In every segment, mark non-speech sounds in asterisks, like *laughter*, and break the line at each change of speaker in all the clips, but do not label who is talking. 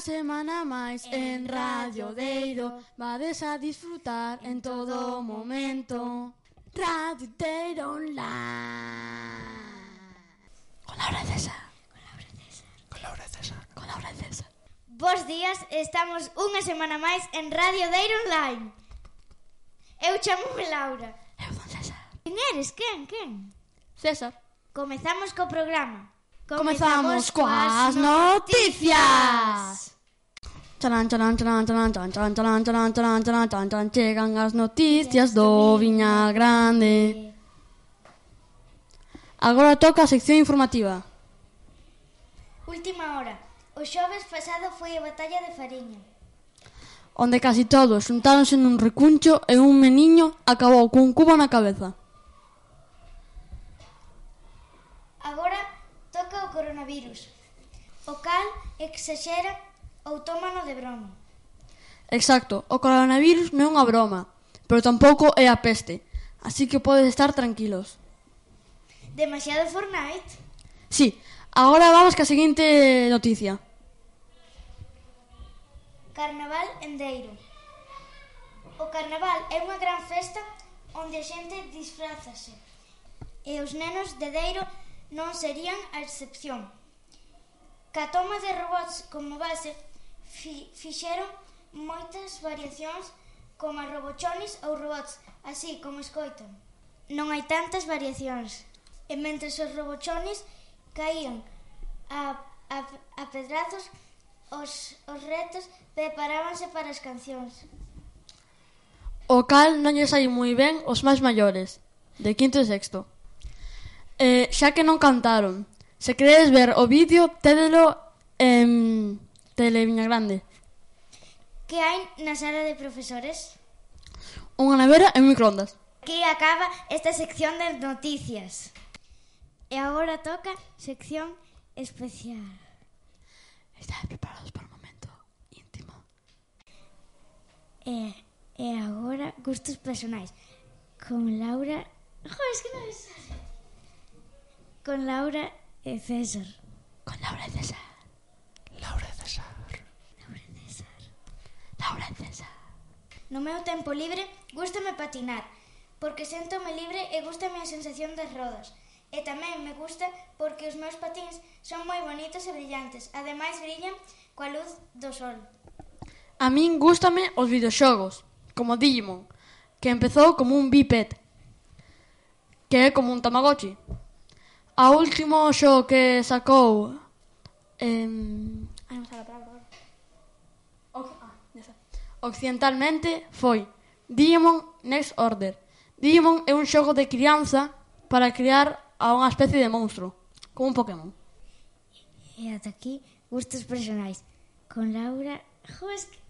semana máis en Radio Deiro Vades a disfrutar en todo momento Radio Deiro Online Con Laura César
Con Laura César.
Con Laura César
Bos días, estamos unha semana máis en Radio Deiro Online. Eu chamome Laura.
Eu don César
Quen eres? Quen? Quen?
César
Comezamos co programa.
Comezamos coas noticias Chalán, chalán, chalán, chalán, chalán, chalán, chalán, chalán, chalán, chalán, chalán, chalán Chegan as noticias do Viñal Grande Agora toca a sección informativa
Última hora. O xoves pasado foi a batalla de Fariña.
onde casi todos xuntáronse nun recuncho e un meniño acabou cun cubo na cabeza.
Agora toca o coronavirus. O cal exaxera ou tómano de broma.
Exacto, o coronavirus non é unha broma, pero tampouco é a peste, así que podes estar tranquilos.
Demasiado Fortnite.
Sí, agora vamos ca seguinte noticia.
Carnaval en Deiro. O carnaval é unha gran festa onde a xente disfrázase. E os nenos de Deiro non serían a excepción. Ca toma de robots como base fi fixeron moitas variacións como a robochonis ou robots, así como escoitan. Non hai tantas variacións. E mentre os robochonis caían a, a, a pedrazos, os, os retos preparábanse para as cancións.
O cal non lle sai moi ben os máis maiores, de quinto e sexto. Eh, xa que non cantaron, se queredes ver o vídeo, tédelo en Televiña Grande.
Que hai na sala de profesores?
Unha nevera e un microondas.
Aquí acaba esta sección de noticias. E agora toca sección especial.
Estades preparados para un momento íntimo.
E, e agora gustos personais. Con Laura... Jo, es que non me sale. Con Laura e César.
Con Laura César.
Laura César.
Laura César.
No meu tempo libre, gustame patinar, porque sentome libre e gustame a sensación das rodas. E tamén me gusta porque os meus patins son moi bonitos e brillantes. Ademais, brillan coa luz do sol.
A min gústame os videoxogos, como Digimon, que empezou como un biped, que é como un Tamagotchi. A último xogo que sacou... Em... Ai, non sabe a palabra. agora. Oc- ah, ya sei. Occidentalmente foi Digimon Next Order. Digimon é un xogo de crianza para criar a unha especie de monstro, como un Pokémon.
E ata aquí, gustos personais. Con Laura... Jo, es que...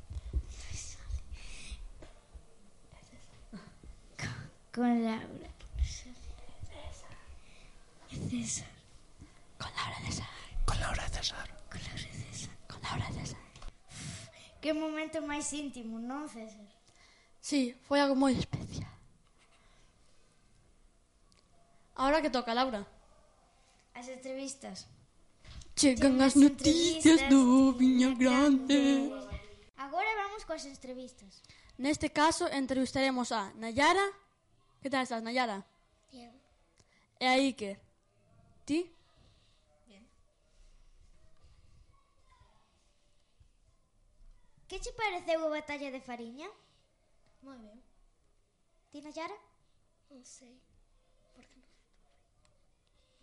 Con Laura... César.
Con Laura César.
Con Laura César.
Con Laura e César.
Con Laura César.
Que momento máis íntimo, non, César?
Sí, foi algo moi especial. Ahora que toca, Laura.
As entrevistas.
Chegan as
as
noticias
entrevistas
do
do
Viña
Viña
Grande.
Agora vamos coas entrevistas.
Neste caso, entrevistaremos a Nayara. Que tal estás, Nayara?
Bien.
E a Iker. Ti?
Que che pareceu a batalla de Fariña? Moi ben. Ti, Nayara? Non sei. Porque non estuve.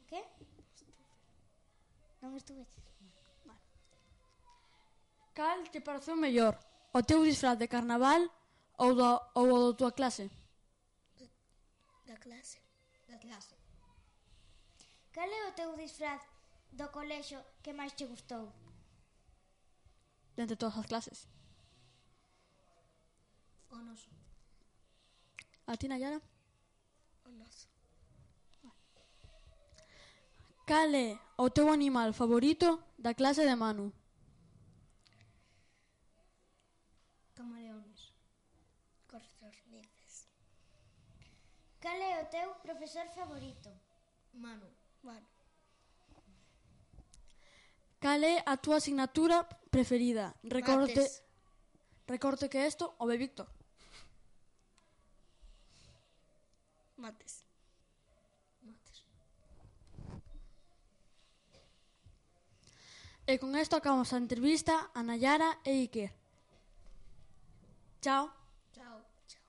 Que? Non estuve.
Cal te pareceu mellor? O teu disfraz de carnaval ou, do, ou o da tua clase?
Da clase. Da clase. Cal é o teu disfraz do colexo que máis che gustou?
Dentre todas as clases.
O noso.
A ti, Nayara?
O noso.
Cal é o teu animal favorito da clase de Manu?
Camaleones. Cortornices. Cal é o teu profesor favorito? Manu. Manu.
Cal é a túa asignatura preferida? Recorte,
Mates.
recorte que esto o ve Víctor.
Mates. Mates.
E Eh, con esto acabamos a entrevista a Nayara e Iker. Chao.
Chao. Chao.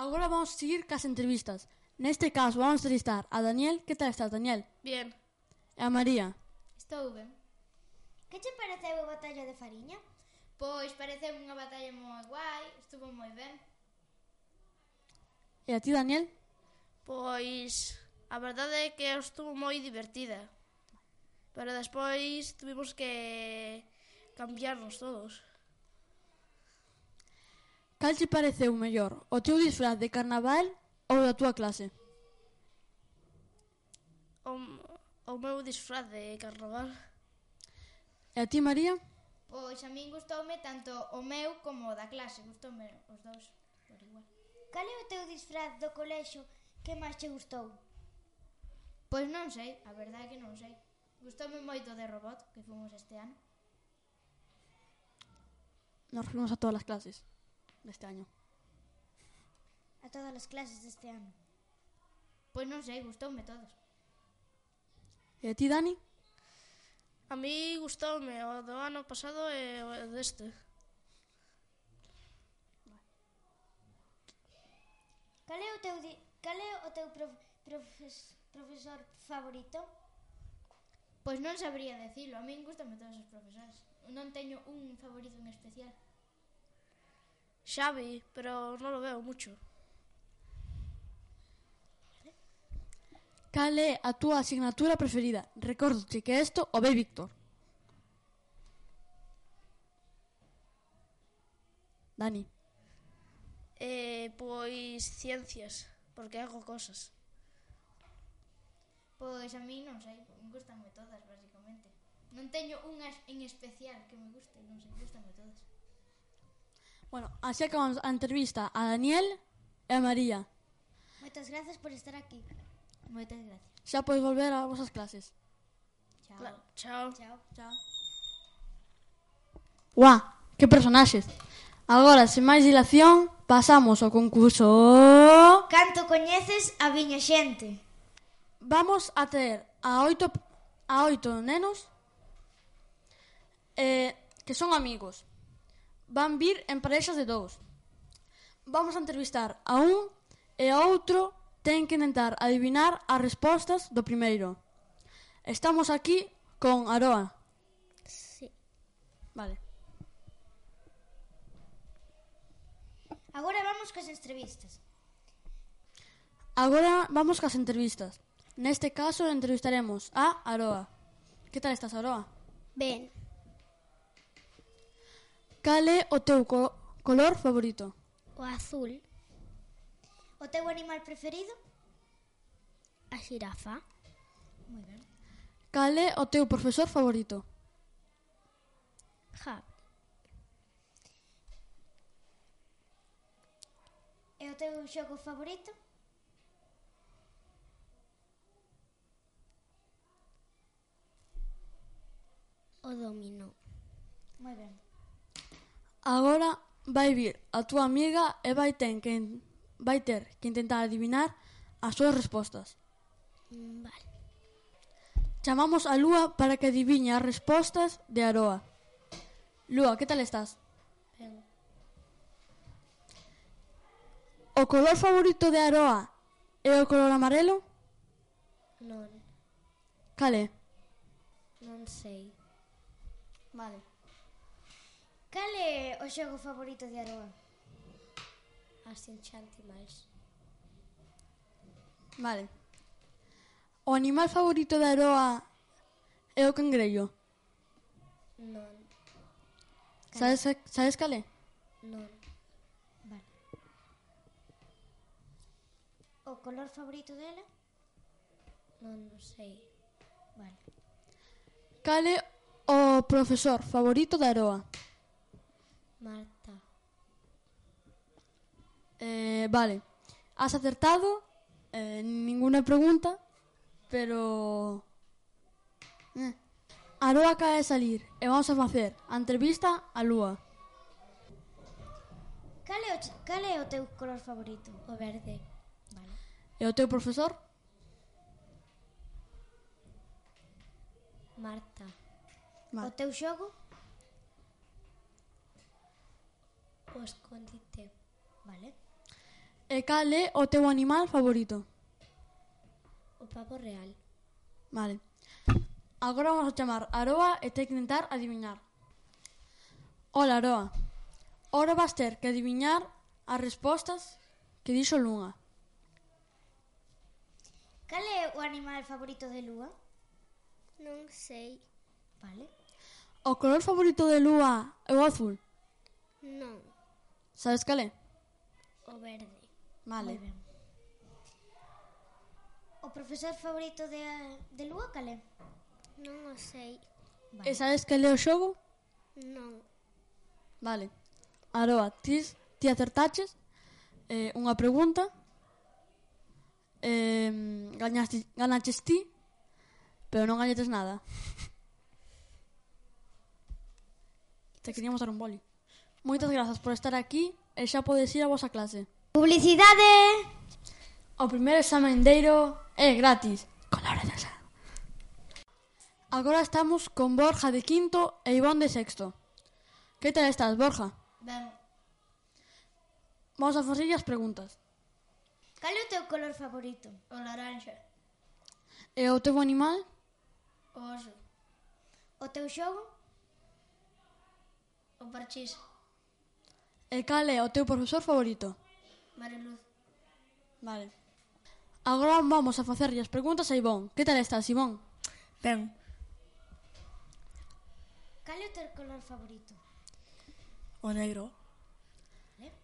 Agora vamos seguir cas entrevistas. Neste caso vamos entrevistar a Daniel. Que tal estás, Daniel?
Bien.
E a María.
Estou ben.
Que che pareceu o batallo de Fariña?
Pois parece unha batalla moi guai, estuvo moi ben.
E a ti, Daniel?
Pois a verdade é que eu estuvo moi divertida. Pero despois tuvimos que cambiarnos todos.
Cal te pareceu mellor? O teu disfraz de carnaval ou da túa clase?
O, m- o meu disfraz de carnaval.
E a ti, María?
Pois a min gustoume tanto o meu como o da clase, gustoume os dous por igual.
Cal é o teu disfraz do colexo que máis che gustou?
Pois non sei, a verdade é que non sei. Gustoume moito de robot que fomos este ano.
Nos reunimos a todas as clases deste año.
A todas as clases deste ano.
Pois non sei, gustoume todos.
E a ti, Dani?
A mí gustoume o do ano pasado e o deste.
Cal é o teu, di... Cal é o teu prof... profes... profesor favorito?
Pois non sabría decilo, a min gustoume todos os profesores. Non teño un favorito en especial.
Xavi, pero non lo veo mucho.
Cal é a túa asignatura preferida? Recordoche que esto o ve Víctor. Dani.
E pois ciencias, porque hago cosas.
Pois a mí non sei, me gustan todas, basicamente. Non teño unha en especial que me guste, non sei, gustan todas.
Bueno, así acabamos a entrevista a Daniel e a María.
Moitas grazas por estar aquí.
Moitas gracias.
Xa podes volver ás vosas clases.
Chao.
Cla- Chao.
Chao.
Chao. Guau, que personaxes. Agora, sen máis dilación, pasamos ao concurso.
Canto coñeces a viña xente?
Vamos a ter a oito a oito nenos eh, que son amigos. Van vir en parexas de dous. Vamos a entrevistar a un e a outro ten que intentar adivinar as respostas do primeiro. Estamos aquí con Aroa.
Sí.
Vale.
Agora vamos cos entrevistas.
Agora vamos cas entrevistas. Neste caso entrevistaremos a Aroa. Que tal estás, Aroa?
Ben.
Cal é o teu co color favorito?
O azul,
O teu animal preferido?
a xirafa,
Cal é o teu profesor favorito?
Javi,
E o teu xogo favorito?
o dominó.
Moi ben.
Agora vai vir a túa amiga e vai ten que vai ter que intentar adivinar as súas respostas.
Mm, Vale.
Chamamos a Lúa para que adiviñe as respostas de Aroa. Lúa, que tal estás? O color favorito de Aroa é o color amarelo?
Non,
Cale?
non sei.
Vale.
Cal é o xogo favorito de Aroa?
As enchantimals.
Vale. O animal favorito de Aroa é o cangrello.
Non,
Sabes, sabes cal é?
non.
O color favorito dela?
Non, non sei.
Vale.
Cal é o profesor favorito de Aroa?
Marta,
Eh, vale. Has acertado eh, ninguna pregunta, pero... Eh. A lúa acaba de salir e vamos a facer a entrevista a lúa.
Cal é o, ch- cal é o teu color favorito?
O verde. Vale.
E o teu profesor?
Marta.
O teu xogo?
O escondite. Vale.
E cal é o teu animal favorito?
O pavo real.
Vale. Agora vamos a chamar a Aroa e te que intentar adivinar. Ola, Aroa. Ora vas ter que adivinar as respostas que dixo Lunga.
Cal é o animal favorito de Lúa?
Non sei.
Vale.
O color favorito de Lúa é o azul.
Non.
Sabes cal é?
O verde.
Vale.
O profesor favorito de, de Lúa cal é?
Non o sei.
E Eh, sabes cal é o xogo?
Non.
Vale. Aroa, ti, ti acertaches eh, unha pregunta. Eh, gañaste, ganaches ti, pero non gañetes nada. Te queríamos dar un boli. Moitas grazas por estar aquí e xa podes ir a vosa clase.
Publicidade!
O primeiro examen deiro é gratis. Con Laura César. Agora estamos con Borja de quinto e Iván de sexto. Que tal estás, Borja?
Ben,
Vamos a facerlle as preguntas.
Cal é o teu color favorito?
o laranxa,
E o teu animal?
o oso,
O teu xogo?
o parchís,
E cal é o teu profesor favorito?
Mariluz,
Vale. Agora vamos a facerlle as preguntas a Ivón. Que tal estás, Ivón?
Ben,
Cal é o teu color favorito?
o negro.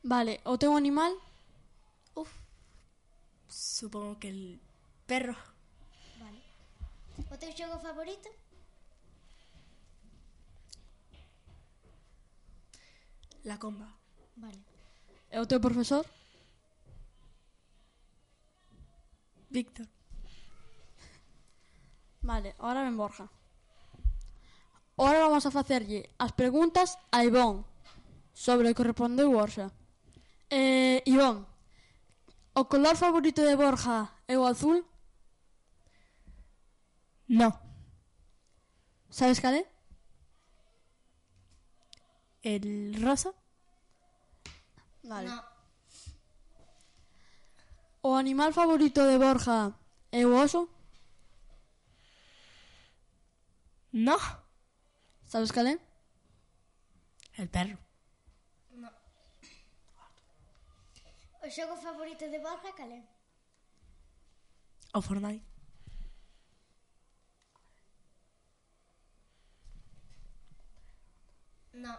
Vale, o teu animal?
Supongo que el perro.
O teu xogo favorito?
La comba.
Vale.
E o teu profesor?
Víctor.
Vale, ahora ven Borja. Ahora vamos a facerlle as preguntas a Ivón sobre o que respondeu Borja. Eh, Ivón, o color favorito de Borja é o azul?
No.
Sabes cal é?
El rosa.
Vale.
No.
O animal favorito de Borja é o oso?
No.
Sabes cal é?
El perro.
O xogo favorito de Borja cal é?
O Fortnite.
no,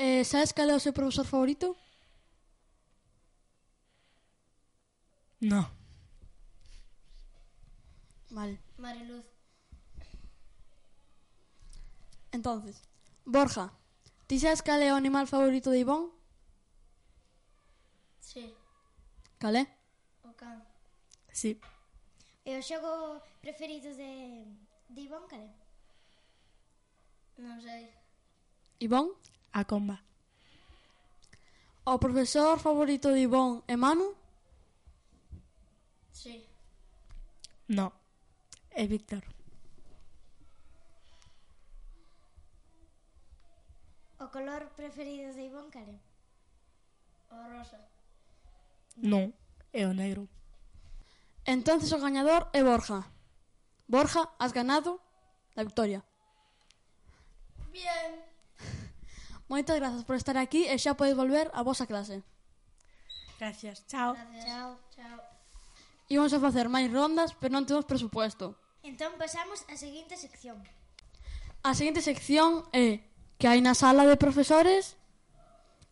Eh, sabes cal é o seu profesor favorito?
No.
Vale.
Mariluz,
Entonces, Borja, ti sabes cal é o animal favorito de Ivón?
sí,
Cal é?
o can,
Sí.
E o xogo preferido de, de Iván cal é?
non sei,
Ivón?
A comba.
O profesor favorito de Ivón é Manu?
sí,
No. El Víctor.
O color preferido de Iván cal é?
o rosa,
No. E o negro.
Entonces o gañador é Borja. Borja, has ganado la victoria. *laughs*
bien,
Moitas grazas por estar aquí e xa podes volver á vosa clase.
Gracias. Chao.
gracias, chao, chao.
Imos a facer máis rondas, pero non temos presupuesto.
Entón pasamos á seguinte sección.
A seguinte sección é que hai na sala de profesores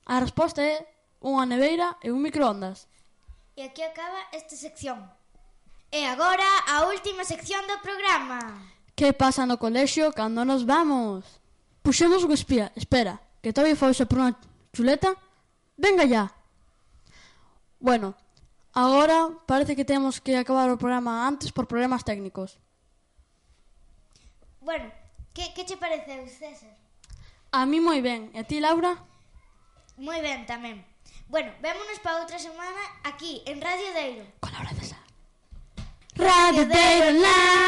a resposta é unha neveira e un microondas.
E aquí acaba esta sección. E agora a última sección do programa.
Que pasa no colexio cando nos vamos? Puxemos o espía, espera, que Toby foise por unha chuleta. Venga ya. Bueno, agora parece que temos que acabar o programa antes por problemas técnicos.
Bueno, que, que che pareceu, César?
A mí moi ben. E ti, Laura?
Moi ben tamén. Bueno, vémonos para outra semana aquí en Radio Deiro.
Con Laura César. Radio Deiro Live.